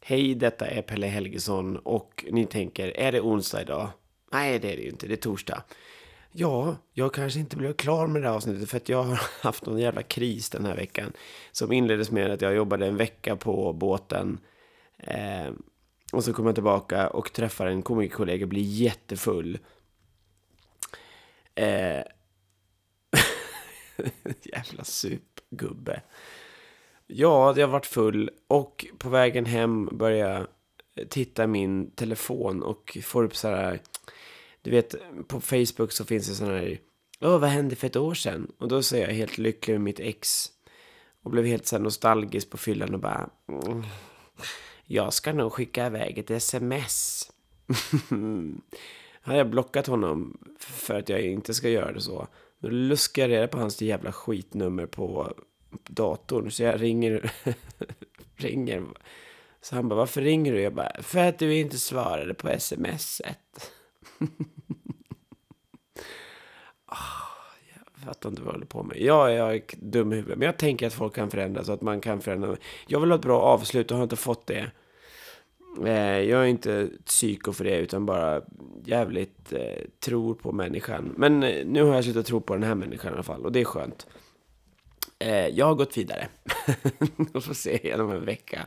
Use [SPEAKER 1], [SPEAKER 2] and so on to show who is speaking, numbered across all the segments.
[SPEAKER 1] Hej, detta är Pelle Helgesson och ni tänker, är det onsdag idag? Nej, det är det ju inte, det är torsdag. Ja, jag kanske inte blev klar med det här avsnittet för att jag har haft någon jävla kris den här veckan. Som inleddes med att jag jobbade en vecka på båten. Eh, och så kom jag tillbaka och träffar en komikerkollega och blir jättefull. Eh, jävla supgubbe. Ja, jag har varit full och på vägen hem börjar jag titta i min telefon och får upp så här... Du vet, på Facebook så finns det sån här... Åh, vad hände för ett år sedan? Och då ser jag helt lycklig med mitt ex. Och blev helt så här nostalgisk på fyllan och bara... Mm, jag ska nog skicka iväg ett sms. Har jag blockat honom för att jag inte ska göra det så. Då luskar jag reda på hans jävla skitnummer på datorn. Så jag ringer. ringer. Så han bara, varför ringer du? Jag bara, för att du inte svarade på smset. Jag fattar inte vad jag håller på med. Ja, jag är dum i huvudet. Men jag tänker att folk kan förändras så att man kan förändra. Jag vill ha ett bra avslut och har inte fått det. Eh, Jag är inte psyko för det, utan bara jävligt eh, tror på människan. Men eh, nu har jag slutat tro på den här människan i alla fall, och det är skönt. Eh, jag har gått vidare. och får se igenom en vecka.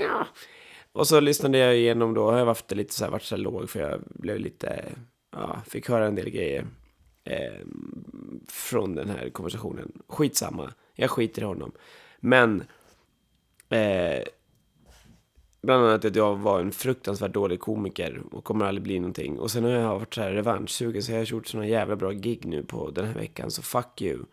[SPEAKER 1] Ja. Och så lyssnade jag igenom då, har jag haft det lite så här, varit så här låg för jag blev lite, ja, fick höra en del grejer. Eh, från den här konversationen. Skitsamma, jag skiter i honom. Men, eh, bland annat att jag var en fruktansvärt dålig komiker och kommer aldrig bli någonting. Och sen har jag varit så här revanschsugen så jag har gjort såna jävla bra gig nu på den här veckan, så fuck you.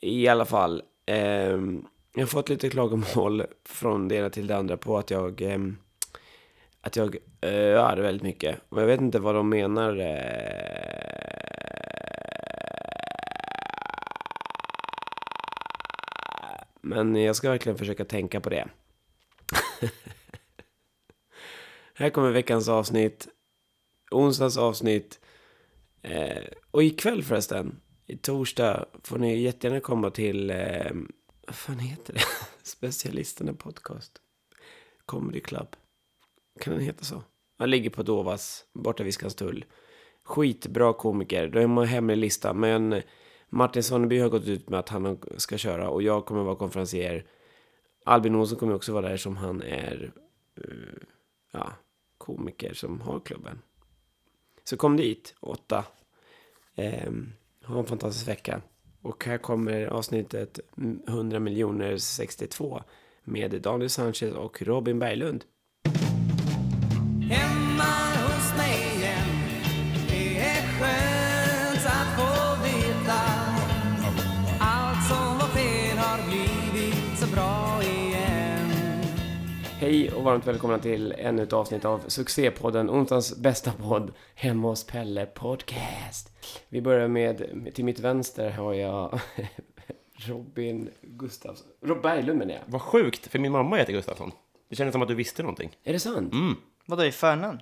[SPEAKER 1] I alla fall. ehm, jag har fått lite klagomål från det ena till det andra på att jag... ehm, att jag öar väldigt mycket. Och jag vet inte vad de menar... eh, Men jag ska verkligen försöka tänka på det. Här kommer veckans avsnitt. Onsdagens avsnitt. Eh, och ikväll förresten, i torsdag, får ni jättegärna komma till, eh, vad fan heter det? Specialisterna podcast. Comedy Club. Kan den heta så? Den ligger på Dovas, borta vid Skanstull. Skitbra komiker. De har en hemlig lista, men Martin Svaneby har gått ut med att han ska köra och jag kommer vara konferencier. Albin Olsson kommer också vara där som han är eh, ja, komiker som har klubben. Så kom dit, åtta. Ehm, ha en fantastisk vecka. Och här kommer avsnittet 100 miljoner 62 med Daniel Sanchez och Robin Berglund.
[SPEAKER 2] Hemma hos mig igen Det är skönt att få veta Allt som var fel har blivit så bra igen
[SPEAKER 1] Hej och varmt välkomna till ännu ett avsnitt av succépodden, onsdagens bästa podd, Hemma hos Pelle Podcast. Vi börjar med, till mitt vänster har jag Robin Gustafsson, Rob Berglund menar jag.
[SPEAKER 3] Vad sjukt, för min mamma heter Gustafsson. Det kändes som att du visste någonting.
[SPEAKER 1] Är det sant?
[SPEAKER 4] Vadå i förnamn?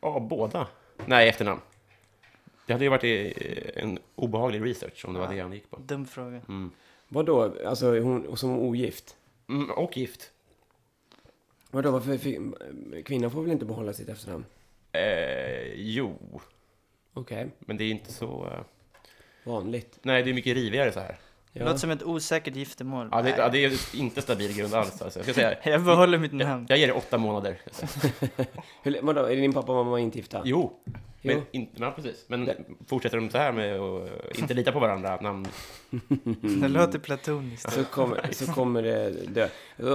[SPEAKER 3] Ja, båda. Nej, efternamn. Det hade ju varit eh, en obehaglig research om det var det han gick på.
[SPEAKER 4] Dum fråga.
[SPEAKER 1] Vadå, alltså är hon som ogift?
[SPEAKER 3] Mm, och gift.
[SPEAKER 1] Vadå, varför fick, kvinnan får väl inte behålla sitt efternamn?
[SPEAKER 3] Eh, jo,
[SPEAKER 1] Okej,
[SPEAKER 3] men det är inte så... Eh...
[SPEAKER 1] vanligt.
[SPEAKER 3] Nej, det är mycket rivigare så här.
[SPEAKER 4] Det Låter som ett osäkert giftermål.
[SPEAKER 3] Ja, det, ja, det är inte stabil grund alls. Alltså. Jag, ska säga,
[SPEAKER 4] Jag behåller mitt namn.
[SPEAKER 3] jag ger det åtta månader. ska jag säga.
[SPEAKER 1] Hur, lä- vadå, är din pappa och mamma inte gifta?
[SPEAKER 3] Jo,
[SPEAKER 1] Jo.
[SPEAKER 3] men, inte, ja, precis. men fortsätter de så här med att inte lita på varandra, namn,
[SPEAKER 4] Det låter platoniskt.
[SPEAKER 1] Så kommer, så kommer det dö.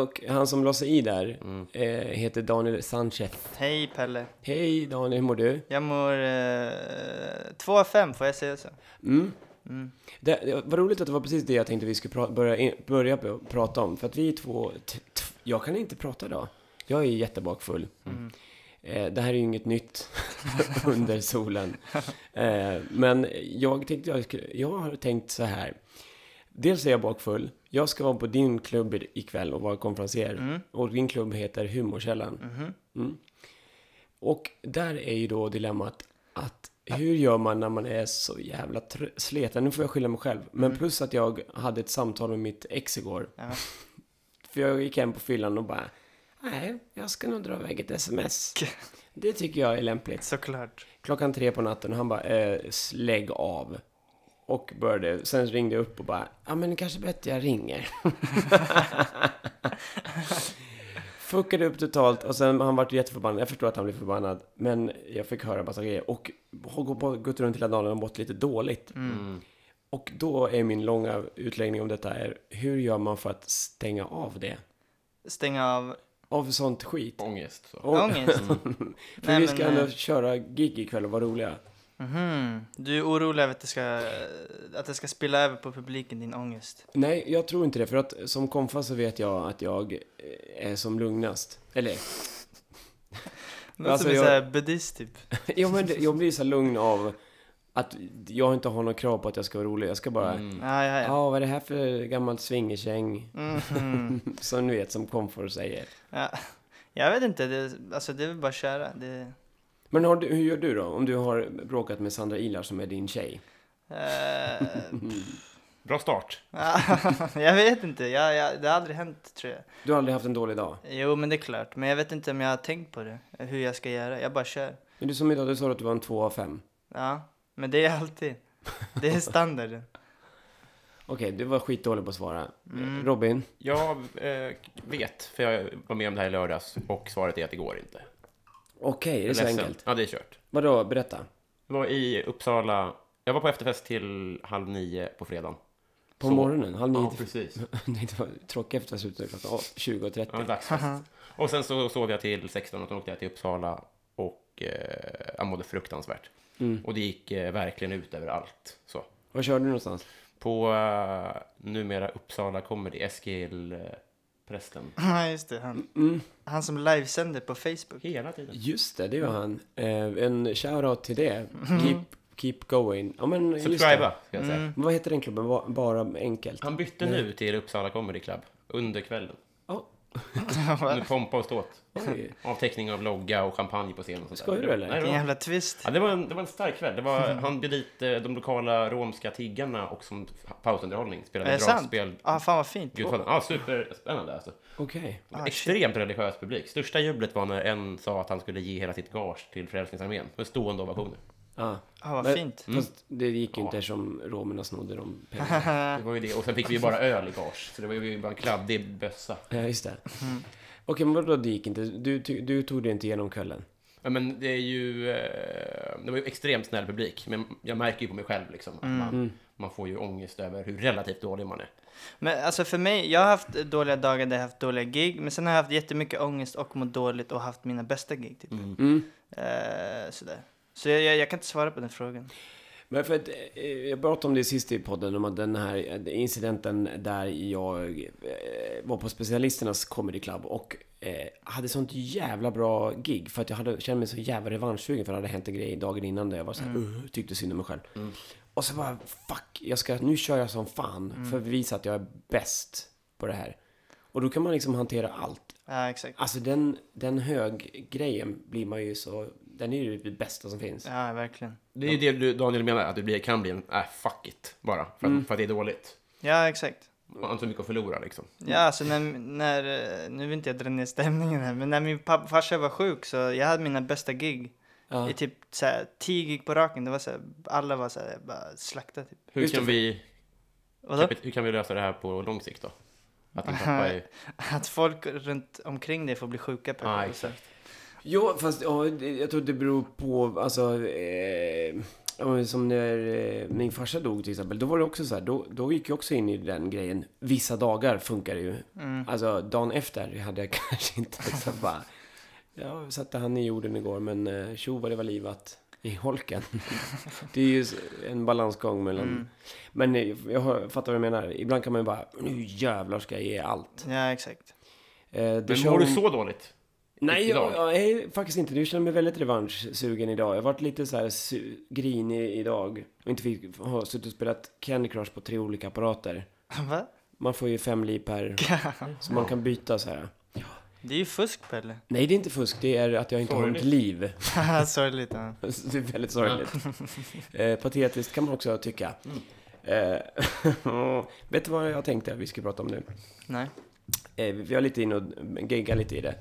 [SPEAKER 1] Och han som la sig i där
[SPEAKER 3] Mm.
[SPEAKER 1] eh, heter Daniel Sanchez.
[SPEAKER 4] Hej Pelle.
[SPEAKER 1] Hej Daniel, hur mår du?
[SPEAKER 4] Jag mår... Eh, 2 av 5, får jag säga så?
[SPEAKER 1] Det, det var roligt att det var precis det jag tänkte vi skulle pra, börja, in, börja p- prata om. För att vi två... T, t, jag kan inte prata idag. Jag är jättebakfull. Eh, det här är ju inget nytt under solen. Eh, men jag tänkte... Jag, skulle- jag har tänkt så här. Dels är jag bakfull. Jag ska vara på din klubb i- ikväll och vara konferencier. Och din klubb heter Humorkällan. Mm. Och där är ju då dilemmat att hur gör man när man är så jävla tr- sleten? Nu får jag skylla mig själv. Men plus att jag hade ett samtal med mitt ex igår.
[SPEAKER 4] Ja.
[SPEAKER 1] För jag gick hem på fyllan och bara, Nej, jag ska nog dra iväg ett sms. Det tycker jag är lämpligt.
[SPEAKER 4] Såklart.
[SPEAKER 1] Klockan tre på natten och han bara, eh, s- lägg av. Och började, sen ringde jag upp och bara, ja men kanske bättre jag ringer. Fuckade upp totalt och sen han vart jätteförbannad. Jag förstår att han blev förbannad. Men jag fick höra massa grejer och har gå- gått runt hela dagen och mått lite dåligt.
[SPEAKER 4] Mm.
[SPEAKER 1] Och då är min långa utläggning om detta är, hur gör man för att stänga av det?
[SPEAKER 4] Stänga av
[SPEAKER 1] Av sånt skit.
[SPEAKER 3] Ångest. Så.
[SPEAKER 1] Och-
[SPEAKER 4] ångest.
[SPEAKER 1] För
[SPEAKER 4] Nej,
[SPEAKER 1] vi
[SPEAKER 4] men,
[SPEAKER 1] ska
[SPEAKER 4] eh,
[SPEAKER 1] ändå köra gig ikväll och vara roliga.
[SPEAKER 4] Mhm. Du är orolig över att det, ska, att det ska spilla över på publiken, din ångest.
[SPEAKER 1] Nej, jag tror inte det. För att som konfa så vet jag att jag eh, är som lugnast. Eller,
[SPEAKER 4] Något
[SPEAKER 1] Alltså,
[SPEAKER 4] som är
[SPEAKER 1] jag-
[SPEAKER 4] såhär buddhist typ.
[SPEAKER 1] jo, men det- jag blir så lugn av att jag inte har något krav på att jag ska vara rolig. Jag ska bara, ja,
[SPEAKER 3] Mm.
[SPEAKER 4] Ah, ja, ja.
[SPEAKER 1] vad är det här för gammalt swingerkäng?
[SPEAKER 4] Mhm.
[SPEAKER 1] Som du vet, som komfor säger.
[SPEAKER 4] ja. Jag vet inte, det, alltså det är väl bara att köra. Det,
[SPEAKER 1] Men har du, hur gör du då? Om du har bråkat med Sandra Ilar som är din tjej?
[SPEAKER 4] eh,
[SPEAKER 3] Bra start.
[SPEAKER 4] jag vet inte, jag, jag, det har aldrig hänt tror jag.
[SPEAKER 1] Du har aldrig haft en dålig dag?
[SPEAKER 4] Jo men det är klart, men jag vet inte om jag har tänkt på det. Hur jag ska göra, jag bara kör.
[SPEAKER 1] Men du som idag, du sa att du var en två av fem.
[SPEAKER 4] Ja, men det är alltid. Det är standarden.
[SPEAKER 1] Okej, du var skitdålig på att svara.
[SPEAKER 3] Mm.
[SPEAKER 1] Robin?
[SPEAKER 3] Jag eh, vet, för jag var med om det här i lördags och svaret är att det går inte.
[SPEAKER 1] Okej, är det så
[SPEAKER 3] Ledsen.
[SPEAKER 1] enkelt?
[SPEAKER 3] Ja, det är kört.
[SPEAKER 1] Vadå, berätta.
[SPEAKER 3] Jag var i Uppsala. Jag var på efterfest till halv nio på fredagen.
[SPEAKER 1] På
[SPEAKER 3] Så-
[SPEAKER 1] morgonen? Halv nio
[SPEAKER 3] Ja,
[SPEAKER 1] till
[SPEAKER 3] precis.
[SPEAKER 1] Nej, det var tråkigt efter att sluta klockan åh, 20.30.
[SPEAKER 3] Ja, dagsfest. Och sen så sov jag till 16 och sen åkte jag till Uppsala och eh, jag mådde fruktansvärt.
[SPEAKER 1] Mm.
[SPEAKER 3] Och det gick eh, verkligen ut över allt. Så.
[SPEAKER 1] Var körde du någonstans?
[SPEAKER 3] På eh, numera Uppsala Comedy, Eskil eh, Prästen.
[SPEAKER 4] Ja, just det. Han, han som livesänder på Facebook.
[SPEAKER 3] Hela tiden.
[SPEAKER 1] Just det, det var han. Eh, en shoutout till det. Keep, keep going. Ja, men just
[SPEAKER 3] Subscriba,
[SPEAKER 1] det. Mm.
[SPEAKER 3] ska jag säga.
[SPEAKER 1] Vad heter den klubben? Ba- Bara enkelt?
[SPEAKER 3] Han bytte nu till Uppsala Comedy Club under kvällen.
[SPEAKER 1] Ja,
[SPEAKER 3] Nu pompa och ståt.
[SPEAKER 1] oj.
[SPEAKER 3] Avteckning av logga och champagne på scenen. och sånt där.
[SPEAKER 1] Skojar du, eller?
[SPEAKER 3] Nej, det
[SPEAKER 4] En
[SPEAKER 3] var-
[SPEAKER 4] jävla Mm. twist.
[SPEAKER 3] Ja, det, var en, det var en stark kväll. Det var, han bjöd dit eh, de lokala romska tiggarna och som pausunderhållning
[SPEAKER 4] Är
[SPEAKER 3] spelade
[SPEAKER 4] det sant?
[SPEAKER 3] dragspel.
[SPEAKER 4] ah, fan vad fint.
[SPEAKER 3] Gudfadern. Ja, superspännande alltså.
[SPEAKER 1] okej.
[SPEAKER 4] Ah,
[SPEAKER 3] Extremt religiös publik. Största jublet var när en sa att han skulle ge hela sitt gage till Frälsningsarmén med stående ovationer.
[SPEAKER 1] Ja.
[SPEAKER 4] Ah, vad
[SPEAKER 1] Men-
[SPEAKER 4] fint.
[SPEAKER 1] Fast det gick ju inte eftersom romerna snodde de pengarna.
[SPEAKER 4] Äh.
[SPEAKER 3] Det var ju det. Och sen fick vi ju bara öl i gage, så det var ju bara en kladdig bössa.
[SPEAKER 1] Ja, just det. Okej, men vadå det gick inte? Du, ty- du tog det inte igenom kvällen?
[SPEAKER 3] Ja, men det är ju... eh, Det var ju extremt snäll publik, men jag märker ju på mig själv liksom att man, man får ju ångest över hur relativt dålig man är.
[SPEAKER 4] Men alltså för mig, jag har haft dåliga dagar där jag har haft dåliga gig, men sen har jag haft jättemycket ångest och mått dåligt och haft mina bästa gig typ. Eh, sådär. Så jag, jag, jag kan inte svara på den frågan.
[SPEAKER 1] Men för att, eh, jag pratade om det sist i podden, om att den här incidenten där jag eh, var på specialisternas comedy club och eh, hade sånt jävla bra gig för att jag hade, kände mig så jävla revanschsugen för det hade hänt en grej dagen innan där jag var så här, "Ugh", tyckte synd om mig själv. Och så bara, fuck, jag ska, nu kör jag som fan för att visa att jag är bäst på det här. Och då kan man liksom hantera allt.
[SPEAKER 4] Ja, exakt.
[SPEAKER 1] Alltså den, den hög-grejen blir man ju så, den är ju det bästa som finns.
[SPEAKER 4] Ja, verkligen.
[SPEAKER 3] Det är ju det du, Daniel menar, att du blir, kan bli en äh, fuck it bara, för att, för att det är dåligt.
[SPEAKER 4] Ja, exakt.
[SPEAKER 3] Man har inte så mycket att förlora liksom.
[SPEAKER 4] Ja, alltså när, när, eh, nu vill inte jag dra ner stämningen här, men när min pappa, farsa var sjuk så jag hade mina bästa gig.
[SPEAKER 1] Ja.
[SPEAKER 4] I typ såhär, tio gig på raken, det var såhär, alla var såhär, bara slakta typ.
[SPEAKER 3] Hur
[SPEAKER 1] Just
[SPEAKER 3] kan,
[SPEAKER 1] det.
[SPEAKER 3] vi, typ,
[SPEAKER 4] Vadå?
[SPEAKER 3] hur kan vi lösa det här på lång sikt då? Att din pappa är...
[SPEAKER 4] Att folk runt omkring dig får bli sjuka på
[SPEAKER 3] Ja,
[SPEAKER 4] det.
[SPEAKER 3] exakt.
[SPEAKER 1] Jo, fast ja, det- jag tror det beror på, alltså, eh, ja, men som när eh, min farsa dog till exempel, då var det också så här, då, då gick jag också in i den grejen, vissa dagar funkar det ju. Alltså, dagen efter hade jag kanske inte så bara, jag satte han i jorden igår, men eh, tjo vad det var livat i holken. det är ju s- en balansgång mellan, men eh, jag hör- fattar vad du menar, ibland kan man ju bara, nu jävlar ska jag ge allt.
[SPEAKER 4] Ja, exakt.
[SPEAKER 1] Eh, the
[SPEAKER 3] Men
[SPEAKER 1] show-
[SPEAKER 3] mår du så dåligt?
[SPEAKER 1] Nej,
[SPEAKER 3] idag?
[SPEAKER 1] jag, jag är faktiskt inte. Du känner mig väldigt revanschsugen idag. Jag har varit lite så här su- grinig idag. Och inte fick ha suttit och spelat Candy Crush på tre olika apparater.
[SPEAKER 4] Va?
[SPEAKER 1] Man får ju fem liv per, så man kan byta så här.
[SPEAKER 4] Det är ju fusk Pelle.
[SPEAKER 1] Nej, det är inte fusk. Det är att jag inte har något liv.
[SPEAKER 4] Haha, Sorgligt. Ja.
[SPEAKER 1] Så det är väldigt sorgligt. eh, patetiskt kan man också tycka. Eh, vet du vad jag tänkte vi skulle prata om nu?
[SPEAKER 4] Nej.
[SPEAKER 1] Eh, vi var lite inne och gegga lite i det.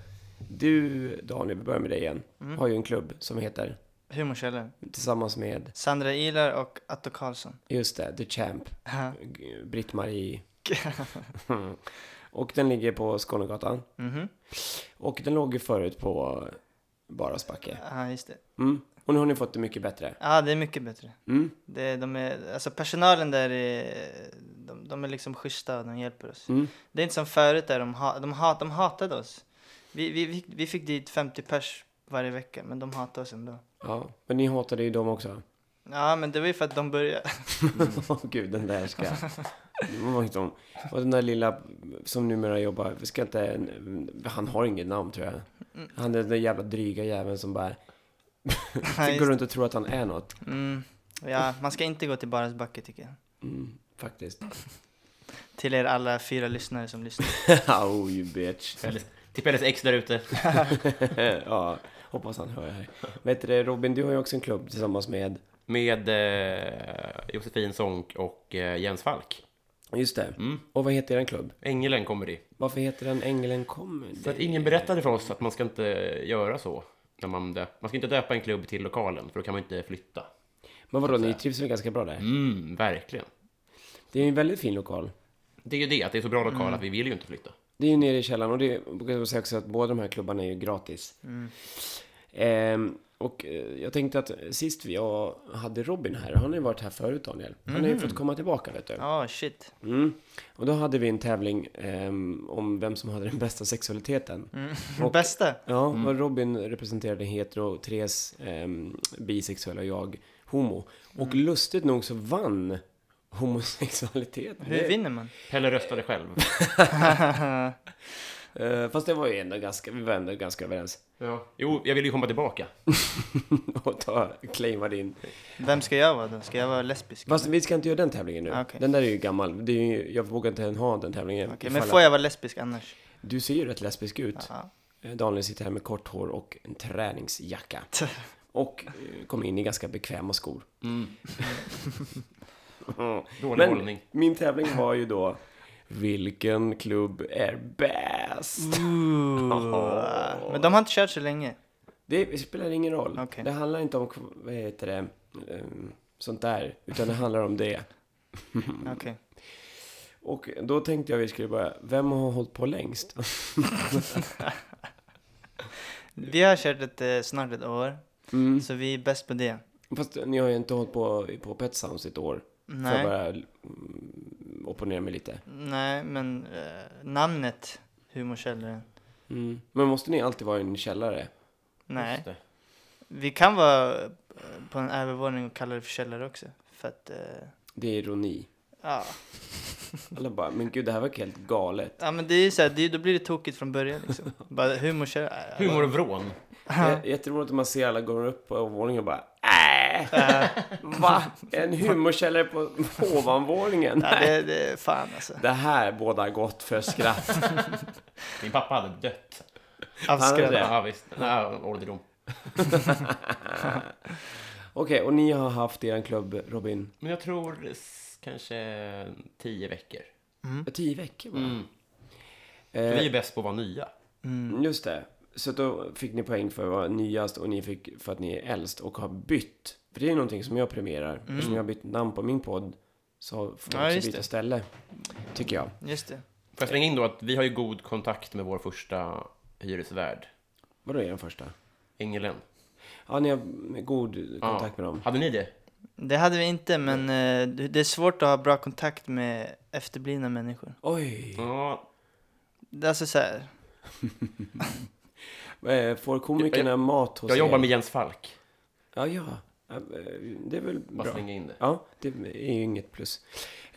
[SPEAKER 1] Du, Daniel, vi börjar med dig igen. Har ju en klubb som heter,
[SPEAKER 4] Humorkällan.
[SPEAKER 1] tillsammans med,
[SPEAKER 4] Sandra Ilar och Atto Karlsson.
[SPEAKER 1] just det, The Champ, G- Britt-Marie. Mm. och den ligger på Skånegatan.
[SPEAKER 4] Mhm.
[SPEAKER 1] Och den låg ju förut på Barasbacke.
[SPEAKER 4] Ja, just det.
[SPEAKER 1] Mm. Och nu har ni fått det mycket bättre.
[SPEAKER 4] Ja, det är mycket bättre.
[SPEAKER 1] Mm.
[SPEAKER 4] Det, de är, alltså personalen där är, de, de är liksom schyssta och de hjälper oss.
[SPEAKER 1] Mm.
[SPEAKER 4] Det är inte som förut där de, ha, de, hat, de hatade oss. Vi, vi, vi, vi fick dit 50 pers varje vecka, men de hatade oss ändå.
[SPEAKER 1] Ja, men ni hatade ju dem också.
[SPEAKER 4] Ja, men det var ju för att de började.
[SPEAKER 1] Åh gud, den där ska... Det var inte om. Och den där lilla som numera jobbar, vi ska inte... Han har inget namn tror jag. Han är den där jävla dryga jäveln som bara...
[SPEAKER 4] Ja,
[SPEAKER 1] går
[SPEAKER 4] just,
[SPEAKER 1] runt och tror att han är något.
[SPEAKER 4] mm, ja, man ska inte gå till Baras backe tycker jag.
[SPEAKER 1] Mm, faktiskt.
[SPEAKER 4] Till er alla fyra lyssnare som lyssnar.
[SPEAKER 1] oh you bitch.
[SPEAKER 3] Pelles, till Pelles ex där ute.
[SPEAKER 1] ja, hoppas han hör det här. Vet du det, Robin, du har ju också en klubb tillsammans med...
[SPEAKER 3] Med eh, Josefin Sonck och eh, Jens Falk.
[SPEAKER 1] Just det.
[SPEAKER 3] Mm.
[SPEAKER 1] Och vad heter den klubb?
[SPEAKER 3] Ängelen Comedy.
[SPEAKER 1] Varför heter den Ängelen Comedy?
[SPEAKER 3] Så att ingen berättade för oss att man ska inte göra så. När man, dö- man ska inte döpa en klubb till lokalen, för då kan man inte flytta.
[SPEAKER 1] Men vadå, ni trivs väl ganska bra där?
[SPEAKER 3] Mm, verkligen.
[SPEAKER 1] Det är ju en väldigt fin lokal.
[SPEAKER 3] Det är ju det, att det är så bra lokal att vi vill ju inte flytta.
[SPEAKER 1] Det är ju nere i källaren och det jag kan säga också att båda de här klubbarna är ju gratis.
[SPEAKER 3] Mm.
[SPEAKER 1] Ehm, och eh, jag tänkte att sist jag hade Robin här, han har ju varit här förut Daniel. Han
[SPEAKER 3] Mm.
[SPEAKER 1] har ju fått komma tillbaka vet du.
[SPEAKER 4] Ja, shit.
[SPEAKER 1] Mm. Och då hade vi en tävling ehm, om vem som hade den bästa sexualiteten.
[SPEAKER 4] Bästa.
[SPEAKER 1] Ja, och Robin representerade hetero, Therese ehm, bisexuell och jag homo.
[SPEAKER 4] Mm.
[SPEAKER 1] Och lustigt nog så vann homosexualiteten.
[SPEAKER 4] Hur vinner man?
[SPEAKER 3] Pelle röstade själv.
[SPEAKER 1] Eh, fast det var ju ändå ganska, vi var ändå ganska överens.
[SPEAKER 3] Ja. Jo, jag vill ju komma tillbaka.
[SPEAKER 1] och ta, claima din.
[SPEAKER 4] Vem ska jag vara då? Ska jag vara lesbisk?
[SPEAKER 1] Fast vi ska inte göra den tävlingen nu.
[SPEAKER 4] Ah, Okej.
[SPEAKER 1] Den där är ju gammal. Det är ju, jag vågar inte ens ha den tävlingen.
[SPEAKER 4] Okej,
[SPEAKER 1] Ifall
[SPEAKER 4] men
[SPEAKER 1] att-
[SPEAKER 4] får jag vara lesbisk annars?
[SPEAKER 1] Du ser ju rätt lesbisk ut.
[SPEAKER 4] Ja.
[SPEAKER 1] Eh, Daniel sitter här med kort hår och en träningsjacka. och eh, kom in i ganska bekväma skor.
[SPEAKER 3] Dålig
[SPEAKER 1] Men
[SPEAKER 3] hållning.
[SPEAKER 1] min tävling var ju då vilken klubb är bäst?
[SPEAKER 4] Ooh. Men de har inte kört så länge.
[SPEAKER 1] Det spelar ingen roll.
[SPEAKER 4] Okej.
[SPEAKER 1] Det handlar inte om kv- vad heter det, ehm, sånt där, utan det handlar om det.
[SPEAKER 4] Okej.
[SPEAKER 1] Och då tänkte jag vi skulle börja, vem har hållit på längst?
[SPEAKER 4] Vi har kört ett, eh, snart ett år,
[SPEAKER 1] Mm.
[SPEAKER 4] så vi är bäst på det.
[SPEAKER 1] Fast ni har ju inte hållit på på Pet Sounds i ett år. Får jag
[SPEAKER 4] Nej,
[SPEAKER 1] bara mm, opponera mig lite.
[SPEAKER 4] nej men eh, namnet Humorkällaren.
[SPEAKER 1] Mm. Men måste ni alltid vara i en källare?
[SPEAKER 4] Nej,
[SPEAKER 3] Just det.
[SPEAKER 4] vi kan vara eh, på en övervåning och kalla det för källare också. För att, eh,
[SPEAKER 1] Det är ironi.
[SPEAKER 4] ja.
[SPEAKER 1] Alla bara, men gud det här verkar helt galet.
[SPEAKER 4] ja men det är ju såhär, det är- då blir det tokigt från början liksom. Bara humorkällare. äh,
[SPEAKER 3] Humor och vrån.
[SPEAKER 1] J- Jätteroligt att man ser alla gå upp på övervåningen och bara äh, Va? En humorkällare på ovanvåningen?
[SPEAKER 4] Ja,
[SPEAKER 1] Nej.
[SPEAKER 4] det, det, fan alltså.
[SPEAKER 1] Det här båda gott för skratt.
[SPEAKER 3] Min pappa hade dött.
[SPEAKER 4] Av
[SPEAKER 1] Han är
[SPEAKER 4] skratt.
[SPEAKER 1] det.
[SPEAKER 3] Ja, visst. Ja, ålderdom.
[SPEAKER 1] Okej, och ni har haft er klubb, Robin?
[SPEAKER 3] Men jag tror s- kanske tio veckor.
[SPEAKER 1] Tio veckor bara.
[SPEAKER 3] Mm. Vi är
[SPEAKER 1] Eh,
[SPEAKER 3] ju bäst på att vara nya.
[SPEAKER 1] Mm, Just det. Så då fick ni poäng för att vara nyast och ni fick för att ni är äldst och har bytt. För det är någonting som jag premierar. Eftersom jag har bytt namn på min podd så får
[SPEAKER 4] Mm. Ja,
[SPEAKER 1] jag
[SPEAKER 4] just
[SPEAKER 1] också byta
[SPEAKER 4] det.
[SPEAKER 1] ställe. Tycker jag.
[SPEAKER 4] Just det.
[SPEAKER 3] Får jag slänga in då att vi har ju god kontakt med vår första hyresvärd,
[SPEAKER 1] Vadå är den första?
[SPEAKER 3] Ängelen.
[SPEAKER 1] Ja, ni har god kontakt med dem.
[SPEAKER 3] Hade ni det?
[SPEAKER 4] Det hade vi inte, men eh, det det är svårt att ha bra kontakt med efterblivna människor.
[SPEAKER 1] Oj!
[SPEAKER 3] Ja,
[SPEAKER 4] Det är alltså såhär,
[SPEAKER 1] Eh, Får komikerna mat hos
[SPEAKER 3] jag jobbar
[SPEAKER 1] er?
[SPEAKER 3] med Jens Falk.
[SPEAKER 1] Ja, ja. Ja, eh, Det är väl
[SPEAKER 3] Bara
[SPEAKER 1] bra.
[SPEAKER 3] slänga in det.
[SPEAKER 1] Ja, det är ju inget plus.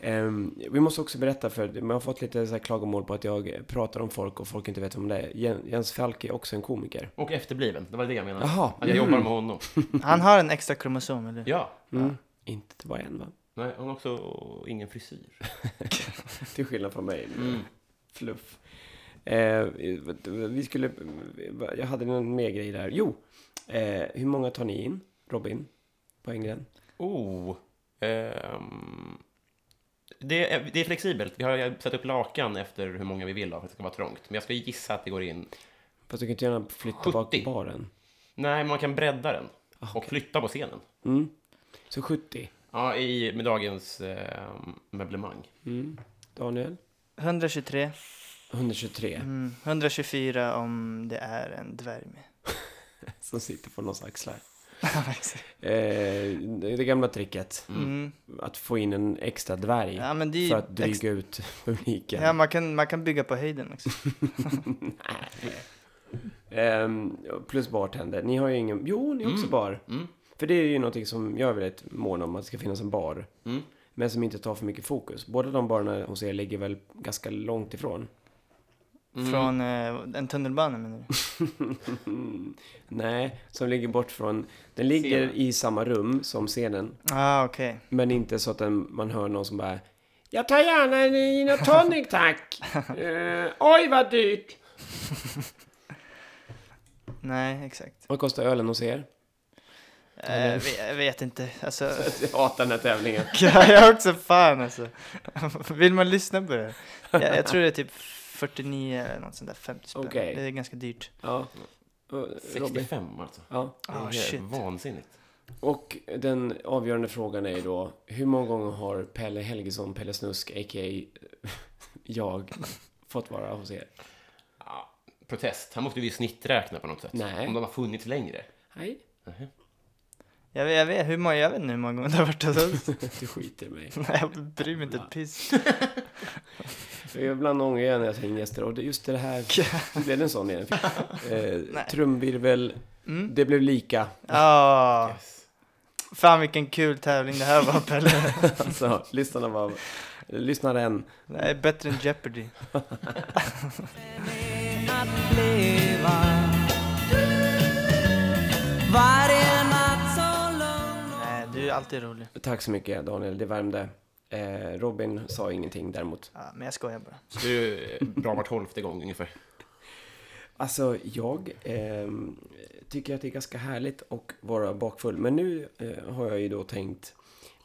[SPEAKER 1] Ehm, vi måste också berätta för, man har fått lite så här klagomål på att jag pratar om folk och folk inte vet om det är. Jen- Jens Falk är också en komiker.
[SPEAKER 3] Och efterbliven, det var det jag menade.
[SPEAKER 1] Jaha.
[SPEAKER 3] Att jag jobbar med honom.
[SPEAKER 4] han har en extra kromosom eller?
[SPEAKER 3] Ja.
[SPEAKER 1] Mm. Inte bara en va?
[SPEAKER 3] Nej, hon har också ingen frisyr.
[SPEAKER 1] Till skillnad från mig.
[SPEAKER 3] Mm.
[SPEAKER 1] Fluff. Eh, vi skulle... Jag hade någon mer grej där. Jo! Eh, hur många tar ni in, Robin? På England?
[SPEAKER 3] Oh. ehm, det, är, det är flexibelt. Vi har satt upp lakan efter hur många vi vill av för att det ska vara trångt. Men jag ska gissa att det går in
[SPEAKER 1] Fast du kan inte gärna flytta bak
[SPEAKER 3] 70.
[SPEAKER 1] baren.
[SPEAKER 3] Nej, man kan bredda den
[SPEAKER 1] Ah,
[SPEAKER 3] och flytta på scenen.
[SPEAKER 1] Mm. Så 70.
[SPEAKER 3] Ja, i, med dagens eh, möblemang.
[SPEAKER 1] Mm. Daniel?
[SPEAKER 4] 123.
[SPEAKER 1] 123.
[SPEAKER 4] Mm, 124 om det är en dvärg med.
[SPEAKER 1] Som sitter på någons axlar.
[SPEAKER 4] Ja, exakt.
[SPEAKER 1] Eh, det gamla tricket.
[SPEAKER 4] mm.
[SPEAKER 1] Att få in en extra dvärg.
[SPEAKER 4] Ja, men det är
[SPEAKER 1] För
[SPEAKER 4] ju
[SPEAKER 1] att dryga
[SPEAKER 4] ex-
[SPEAKER 1] ut publiken.
[SPEAKER 4] Ja, man kan, man kan bygga på höjden också.
[SPEAKER 1] Ehm, plus bartender. Ni har ju ingen... Jo, ni har också bar.
[SPEAKER 3] Mm.
[SPEAKER 1] För det är ju någonting som jag är väldigt mån om, att det ska finnas en bar.
[SPEAKER 3] Mm.
[SPEAKER 1] Men som inte tar för mycket fokus. Båda de barerna hos er ligger väl ganska långt ifrån?
[SPEAKER 4] Från eh, en tunnelbana menar du?
[SPEAKER 1] Nej, som ligger bort från... Den ligger
[SPEAKER 3] Scenen.
[SPEAKER 1] i samma rum som scenen.
[SPEAKER 4] Ah, okej.
[SPEAKER 1] Men inte så att den, man hör någon som bara... Jag tar gärna en gin och tonic tack! Eh, oj vad dyrt!
[SPEAKER 4] Nej, exakt.
[SPEAKER 1] Vad kostar ölen hos er?
[SPEAKER 4] Eh, vi- jag vet inte. Alltså,
[SPEAKER 1] Jag hatar den här tävlingen.
[SPEAKER 4] jag är också fan alltså. Vill man lyssna på det? Jag, jag tror det är typ 49 eller något sånt där, 50 spänn.
[SPEAKER 1] Okej.
[SPEAKER 4] Det är ganska dyrt.
[SPEAKER 1] Ja. Eh, Robin?
[SPEAKER 3] 65 alltså.
[SPEAKER 1] Ja.
[SPEAKER 3] Det
[SPEAKER 4] Ah,
[SPEAKER 3] är
[SPEAKER 4] shit.
[SPEAKER 3] vansinnigt.
[SPEAKER 1] Och den avgörande frågan är ju då, hur många gånger har Pelle Helgesson, Pelle Snusk, a.k.a. jag, fått vara hos er?
[SPEAKER 3] Ja, protest. Han måste vi ju snitträkna på något sätt.
[SPEAKER 1] Nej.
[SPEAKER 3] Om de har funnits längre.
[SPEAKER 1] Nej,
[SPEAKER 4] Jag, vet- jag, vet, hur många, jag vet inte hur många gånger det har varit hos oss.
[SPEAKER 1] du skiter i mig.
[SPEAKER 4] Nej, jag bryr mig inte ett piss.
[SPEAKER 1] Jag är Ibland ångrar jag när jag tar in gäster och det- just det här blev det en sån igen. Eh, trumvirvel, det blev lika.
[SPEAKER 4] Ah,
[SPEAKER 3] Yes.
[SPEAKER 4] fan vilken kul tävling det här var Pelle.
[SPEAKER 1] Alltså, lyssnarna var... Lyssnaren.
[SPEAKER 4] Det här är bättre än Jeopardy.
[SPEAKER 2] Med att leva Varje natt så lugn
[SPEAKER 4] Nej, du är alltid rolig.
[SPEAKER 1] Tack så mycket Daniel, det värmde. Eh, Robin sa ingenting däremot.
[SPEAKER 4] Ja, men jag skojar bara.
[SPEAKER 3] Så det är ju eh, bra var tolfte gång ungefär.
[SPEAKER 1] Alltså, jag ehm, tycker att det är ganska härligt att vara bakfull. Men nu eh, har jag ju då tänkt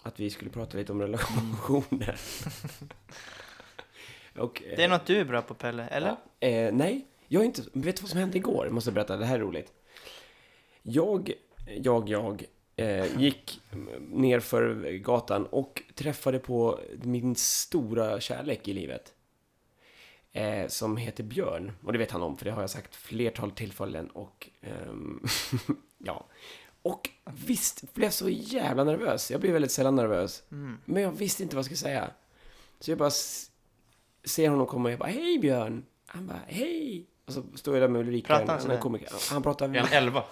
[SPEAKER 1] att vi skulle prata lite om relationer. Och, eh,
[SPEAKER 4] Det är något du är bra på Pelle, eller?
[SPEAKER 1] Eh, nej, jag är inte... men Vet du vad som hände igår? Jag måste berätta, det här är roligt. Jag, jag, jag eh, gick ner för gatan och träffade på min stora kärlek i livet. Eh, som heter Björn. Och det vet han om, för det har jag sagt flertal tillfällen. Och ehm, ja. Och visst, blev så jävla nervös. Jag blir väldigt sällan nervös.
[SPEAKER 4] Mm.
[SPEAKER 1] Men jag visste inte vad jag skulle säga. Så jag bara s- ser honom komma och jag bara Hej Björn! Han bara Hej! Och så står jag där med Ulrika,
[SPEAKER 4] Pratar han
[SPEAKER 1] en annan
[SPEAKER 4] sådär?
[SPEAKER 1] komiker. Han pratar
[SPEAKER 3] Är han 11?